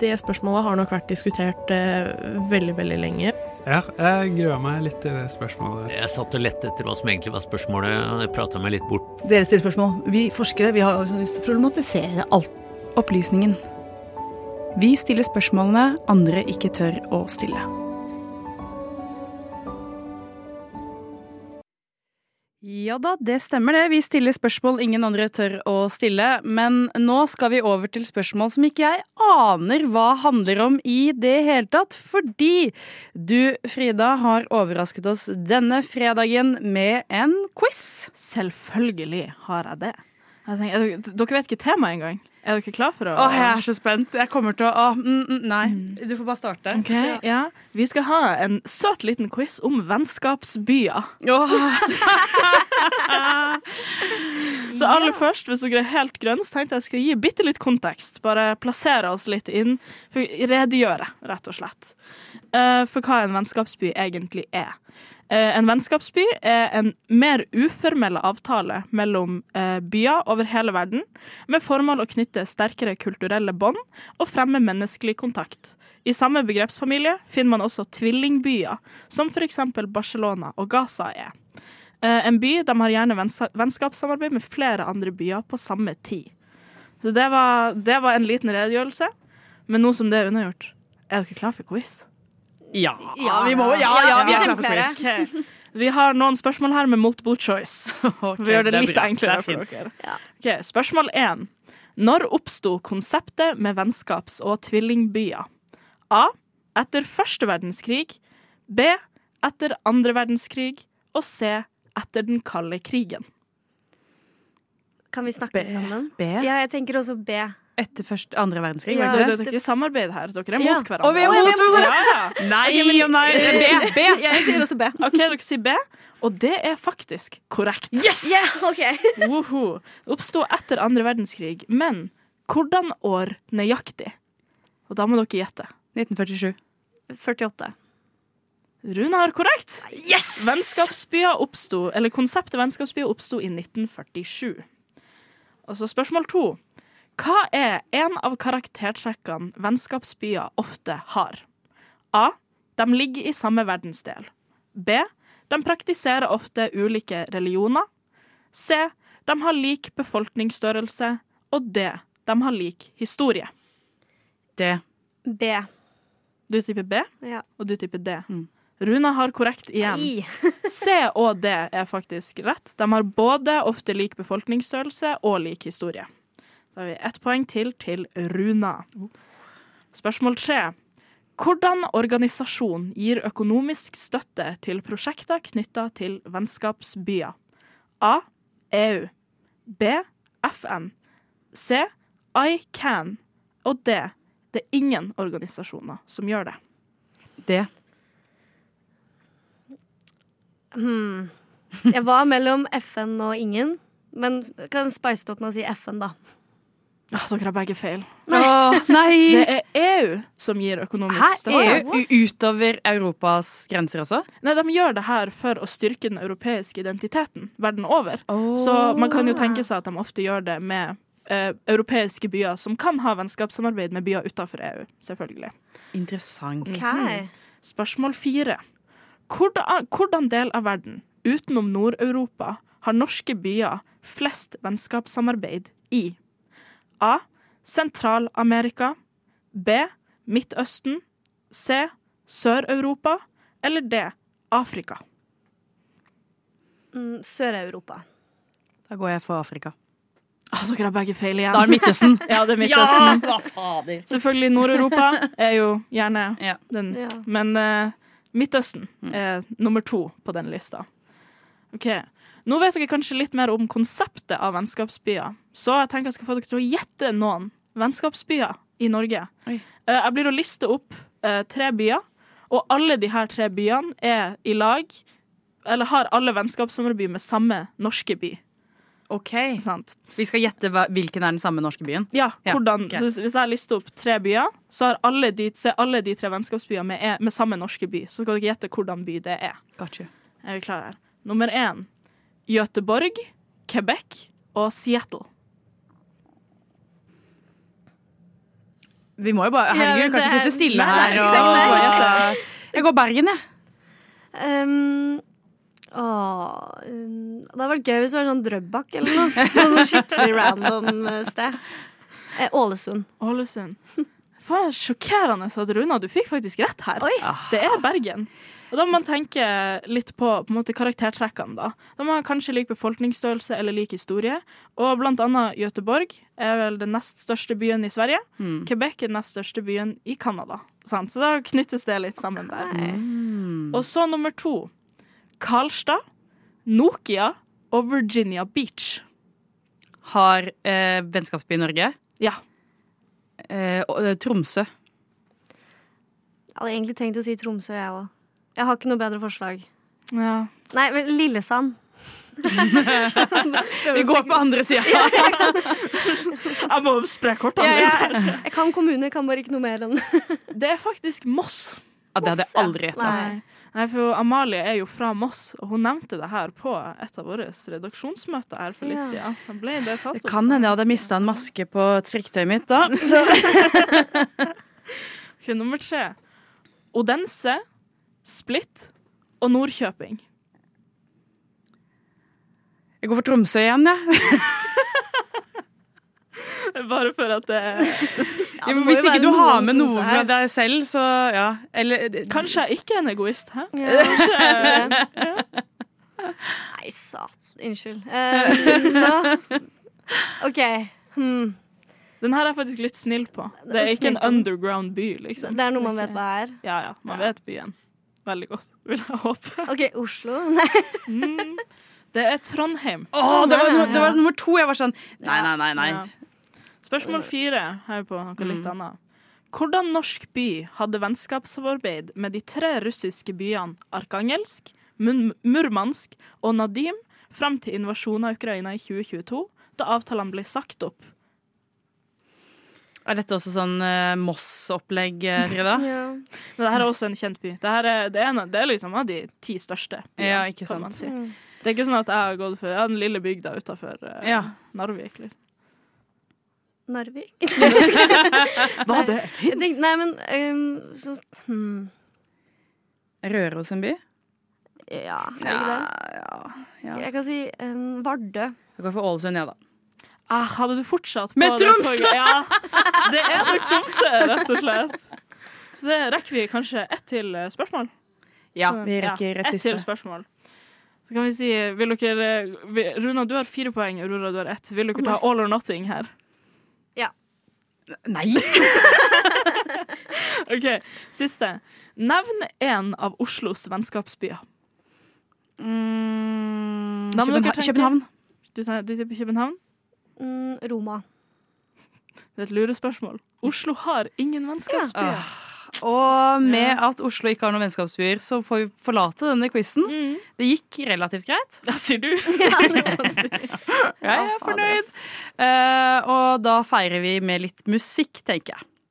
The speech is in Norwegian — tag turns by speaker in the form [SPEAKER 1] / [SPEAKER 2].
[SPEAKER 1] Det spørsmålet har nok vært diskutert eh, veldig, veldig lenge.
[SPEAKER 2] Ja, jeg gruer meg litt til det spørsmålet.
[SPEAKER 3] Jeg satt og lette etter hva som egentlig var spørsmålet, og jeg prata meg litt bort.
[SPEAKER 4] Dere stiller spørsmål. Vi forskere vi har også lyst til å problematisere alt.
[SPEAKER 5] Opplysningen. Vi stiller spørsmålene andre ikke tør å stille. Ja da, det stemmer det. Vi stiller spørsmål ingen andre tør å stille. Men nå skal vi over til spørsmål som ikke jeg aner hva handler om i det hele tatt. Fordi du, Frida, har overrasket oss denne fredagen med en quiz.
[SPEAKER 6] Selvfølgelig har jeg det. Jeg tenker, er dere- dere vet ikke temaet engang. Er dere klare for å
[SPEAKER 5] Åh, jeg er så spent. Jeg kommer til å åh, mm, mm, Nei, du får bare starte.
[SPEAKER 6] Ok, ja. Vi skal ha en søt liten quiz om vennskapsbyer.
[SPEAKER 5] Åh,
[SPEAKER 6] Så aller først, hvis dere er helt grønne, så tenkte jeg jeg skulle gi bitte litt kontekst. Bare plassere oss litt inn. For redegjøre, rett og slett, eh, for hva en vennskapsby egentlig er. Eh, En vennskapsby er en mer uformell avtale mellom eh, byer over hele verden, med formål å knytte sterkere kulturelle bånd og fremme menneskelig kontakt. I samme begrepsfamilie finner man også tvillingbyer, som f.eks. Barcelona og Gaza er. Eh, En by de har gjerne vennsa- vennskapssamarbeid med flere andre byer på samme tid. Så det var, det var en liten redegjørelse. Men nå som det er unnagjort, er dere klare for quiz?
[SPEAKER 5] ja.
[SPEAKER 4] Ja, vi må Ja, ja, vi er klare for quiz.
[SPEAKER 6] Ok. Vi har noen spørsmål her med multiple choice. Vi gjør det, litt enklere for dere. Ok, spørsmål én. Når oppsto konseptet med vennskaps- og tvillingbyer? A. Etter første verdenskrig. B. Etter andre verdenskrig. Og C. Etter den kalde krigen.
[SPEAKER 7] Kan vi snakke
[SPEAKER 5] B.
[SPEAKER 7] sammen?
[SPEAKER 5] B.
[SPEAKER 7] Ja, jeg tenker også B.
[SPEAKER 5] Etter først, andre verdenskrig, var
[SPEAKER 7] Ja.
[SPEAKER 5] det
[SPEAKER 6] Dere,
[SPEAKER 5] ikke det?
[SPEAKER 6] dere er samarbeid her. Dere er
[SPEAKER 7] Ja.
[SPEAKER 6] mot hverandre.
[SPEAKER 5] Og vi er mot
[SPEAKER 6] hverandre! Ja, ja.
[SPEAKER 5] Nei og nei! B! B.
[SPEAKER 7] Jeg sier også B.
[SPEAKER 6] OK, dere sier B, og det er faktisk korrekt. Yes!
[SPEAKER 7] Ja, ok.
[SPEAKER 6] Woho. Oppsto etter andre verdenskrig, men hvordan år nøyaktig? Og da må dere gjette.
[SPEAKER 5] 1947.
[SPEAKER 7] 48.
[SPEAKER 6] Rune har korrekt. Yes! Vennskapsbyer oppsto, eller Konseptet vennskapsbyer oppsto i 1947. Og så spørsmål to. Hva er en av karaktertrekkene vennskapsbyer ofte har? A. De ligger i samme verdensdel. B. De praktiserer ofte ulike religioner. C. De har lik befolkningsstørrelse. Og D. De har lik historie.
[SPEAKER 5] D.
[SPEAKER 7] B.
[SPEAKER 6] Du tipper B,
[SPEAKER 7] Ja.
[SPEAKER 6] og du tipper D.
[SPEAKER 5] Mm.
[SPEAKER 6] Runa har korrekt igjen.
[SPEAKER 7] I.
[SPEAKER 6] C og D er faktisk rett. De har både ofte lik befolkningsstørrelse og lik historie. Da har vi ett poeng til til Runa. Spørsmål tre. Hvordan organisasjon gir økonomisk støtte til prosjekter knytta til vennskapsbyer? A. EU. B. FN. C. ICAN. Og D. Det er ingen organisasjoner som gjør det.
[SPEAKER 5] D.
[SPEAKER 7] Hmm. Jeg var mellom FN og ingen, men kan spice det opp med å si FN, da.
[SPEAKER 6] Åh, Ah, dere har begge feil.
[SPEAKER 7] Nei.
[SPEAKER 5] Åh, nei!
[SPEAKER 6] Det er EU som gir økonomisk
[SPEAKER 5] Hæ?
[SPEAKER 6] støtte.
[SPEAKER 5] EU u- utover Europas grenser også?
[SPEAKER 6] Nei, De gjør det her for å styrke den europeiske identiteten verden over. Så man kan jo tenke seg at de ofte gjør det med eh, europeiske byer som kan ha vennskapssamarbeid med byer utenfor EU, selvfølgelig.
[SPEAKER 5] Interessant. Hmm.
[SPEAKER 7] Ok.
[SPEAKER 6] Spørsmål fire. Hvordan, hvordan del av verden, utenom Nord-Europa, har norske byer flest vennskapssamarbeid i? A. Sentral-Amerika. B. Midtøsten. C. Sør-Europa. Eller D. Afrika.
[SPEAKER 7] Mm, Sør-Europa.
[SPEAKER 5] Da går jeg for Afrika.
[SPEAKER 6] Å, dere har begge feil igjen.
[SPEAKER 5] Da er det Midtøsten.
[SPEAKER 6] ja, det er Midtøsten.
[SPEAKER 5] Ah, hva fader?
[SPEAKER 6] Selvfølgelig Nord-Europa er jo gjerne
[SPEAKER 5] Ja.
[SPEAKER 6] den.
[SPEAKER 7] Ja.
[SPEAKER 6] Men eh, Midtøsten
[SPEAKER 5] Mm.
[SPEAKER 6] er nummer to på den lista. Ok, Nå vet dere kanskje litt mer om konseptet av vennskapsbyer, så jeg tenker jeg skal få dere til å gjette noen vennskapsbyer i Norge.
[SPEAKER 5] Oi.
[SPEAKER 6] Eh, jeg blir å liste opp eh, tre byer, og alle de her tre byene er i lag, eller har alle vennskapssamarbeid med samme norske by.
[SPEAKER 5] OK.
[SPEAKER 6] Ikke sant?
[SPEAKER 5] Vi skal gjette hva, hvilken er den samme norske byen.
[SPEAKER 6] Ja,
[SPEAKER 5] Ja,
[SPEAKER 6] hvordan,
[SPEAKER 5] ok.
[SPEAKER 6] hvis, hvis jeg lister opp tre byer, så er alle de, så er alle de tre vennskapsbyer med, er- med samme norske by. Så skal dere gjette hvordan by det er.
[SPEAKER 5] Got you.
[SPEAKER 6] Er vi klare her? Nummer én Göteborg, Quebec og Seattle.
[SPEAKER 5] Vi må jo bare Herregud,
[SPEAKER 7] Ja,
[SPEAKER 5] vi kan
[SPEAKER 7] det
[SPEAKER 5] ikke
[SPEAKER 7] er-
[SPEAKER 5] sitte stille
[SPEAKER 7] Nei, nei,
[SPEAKER 5] her og
[SPEAKER 7] nei, nei.
[SPEAKER 5] bare gjette. Jeg går Bergen, jeg.
[SPEAKER 7] Um, åh, um, det hadde vært gøy hvis det var sånn Drøbak eller noe. Noe sånn skikkelig random eh, sted. Eh, Ålesund.
[SPEAKER 6] Ålesund. Faen, sjokkerende at Runa, du fikk faktisk rett her. Ah.
[SPEAKER 7] Oi.
[SPEAKER 6] Det er Bergen. Og da må man tenke litt på, på en måte, karaktertrekkene, da. Da må man kanskje like befolkningsstørrelse eller like historie. Og blant annet Göteborg er vel den nest største byen i Sverige. Quebec er den nest største byen i Canada. Sant? Så da knyttes det litt sammen der. Og så nummer to. Karlstad, Nokia og Virginia Beach.
[SPEAKER 5] Har eh, vennskapsby i Norge.
[SPEAKER 6] Ja.
[SPEAKER 5] Eh, og, eh, Tromsø.
[SPEAKER 7] Jeg hadde egentlig tenkt å si Tromsø, jeg òg. Jeg har ikke noe bedre forslag.
[SPEAKER 6] ja.
[SPEAKER 7] Nei, men Lillesand.
[SPEAKER 5] Vi går på andre sida.
[SPEAKER 6] Jeg må spre kortene
[SPEAKER 7] Ja,
[SPEAKER 6] litt.
[SPEAKER 7] jeg, jeg kan kommune, jeg kan bare ikke noe mer enn
[SPEAKER 6] Det er faktisk Moss.
[SPEAKER 5] Ja, det hadde jeg aldri gjetta.
[SPEAKER 7] Nei.
[SPEAKER 6] Nei. Nei, for Amalie er jo fra Moss, og hun nevnte det her på et av våre redaksjonsmøter her for litt
[SPEAKER 7] Ja.
[SPEAKER 6] siden. Da ble det tatt
[SPEAKER 5] Det
[SPEAKER 6] opp.
[SPEAKER 5] kan hende jeg hadde mista en maske på strikketøyet mitt da. Så.
[SPEAKER 6] Ok, nummer tre. Odense, Split og Nordkjøping.
[SPEAKER 5] Jeg går for Tromsø igjen, jeg.
[SPEAKER 6] Bare for at det
[SPEAKER 5] Ja. Hvis ikke du har med noe fra
[SPEAKER 7] det.
[SPEAKER 5] deg selv, så ja. Eller
[SPEAKER 6] Kanskje jeg ikke er en egoist, hæ?
[SPEAKER 7] må jo være noen som er- Ja, Nei, satan. Unnskyld. Eh, da. OK. Hmm.
[SPEAKER 6] Den her er jeg faktisk litt snill på. Det er ikke en underground by, liksom.
[SPEAKER 7] Det er noe man vet hva er.
[SPEAKER 6] Ja, ja. Man vet byen veldig godt, vil jeg håpe.
[SPEAKER 7] OK, Oslo. Nei.
[SPEAKER 6] Mm. Det er Trondheim.
[SPEAKER 5] Å, Sånn det, var, no- det var nummer to. Jeg var sånn Nei, nei, nei. Mm. nei.
[SPEAKER 6] Ja. Spørsmål fire her på noe litt annet. Hvordan norsk by hadde vennskapssamarbeid med de tre russiske byene Arkangelsk, Mun- Murmansk og Nadim frem til invasjonen av Ukraina i 2022, da avtalene ble sagt opp?
[SPEAKER 5] Er dette også sånn eh, Moss-opplegg, eh, Frida?
[SPEAKER 7] Ja.
[SPEAKER 6] Men dette er også en kjent by. Dette er, det, er, en- det er liksom av de ti største. byene,
[SPEAKER 5] Ja, ikke
[SPEAKER 6] kan man
[SPEAKER 5] sant.
[SPEAKER 6] Si. Det er ikke sånn at jeg har gått for ja, den lille bygda eh, utafor
[SPEAKER 5] Ja.
[SPEAKER 6] Narvik. Liksom.
[SPEAKER 7] Narvik.
[SPEAKER 4] Hva det?
[SPEAKER 7] Jeg tenkte, nei, men ehm, så, hmm,
[SPEAKER 5] Røros en by?
[SPEAKER 7] Ja, er det
[SPEAKER 5] Ja,
[SPEAKER 7] ikke
[SPEAKER 5] ja.
[SPEAKER 7] det? Jeg kan si ehm, Vardø.
[SPEAKER 5] Jeg går for Ålesund, jeg, ja, da.
[SPEAKER 6] Ah, hadde du fortsatt på
[SPEAKER 5] Med
[SPEAKER 6] det
[SPEAKER 5] Tromsø!
[SPEAKER 6] toget- Ja, det er nok Tromsø, rett og slett. Så det rekker vi kanskje ett til eh, spørsmål.
[SPEAKER 5] Ja, vi rekker et
[SPEAKER 6] ett til
[SPEAKER 5] siste.
[SPEAKER 6] spørsmål. Så kan vi si, vil dere eh, vi- Runa, du har fire poeng. Aurora, du har ett. Vil dere ta all or nothing her?
[SPEAKER 5] Nei!
[SPEAKER 6] OK, siste. Nevn én av Oslos vennskapsbyer.
[SPEAKER 5] Mm,
[SPEAKER 6] Da må dere
[SPEAKER 5] København.
[SPEAKER 6] tenke.
[SPEAKER 5] København.
[SPEAKER 6] Du sier du tipper København?
[SPEAKER 7] Mm, Roma.
[SPEAKER 6] Det er et lurespørsmål. Oslo har ingen vennskapsbyer.
[SPEAKER 5] Og med at Oslo ikke har noen vennskapsbyer, så får vi forlate denne quizen.
[SPEAKER 6] Mm.
[SPEAKER 5] Det gikk relativt greit.
[SPEAKER 6] Ja, sier du?
[SPEAKER 5] Jeg
[SPEAKER 7] Ja,
[SPEAKER 5] er
[SPEAKER 7] fader,
[SPEAKER 5] fornøyd.
[SPEAKER 7] ass.
[SPEAKER 5] Eh, og da feirer vi med litt musikk, tenker jeg.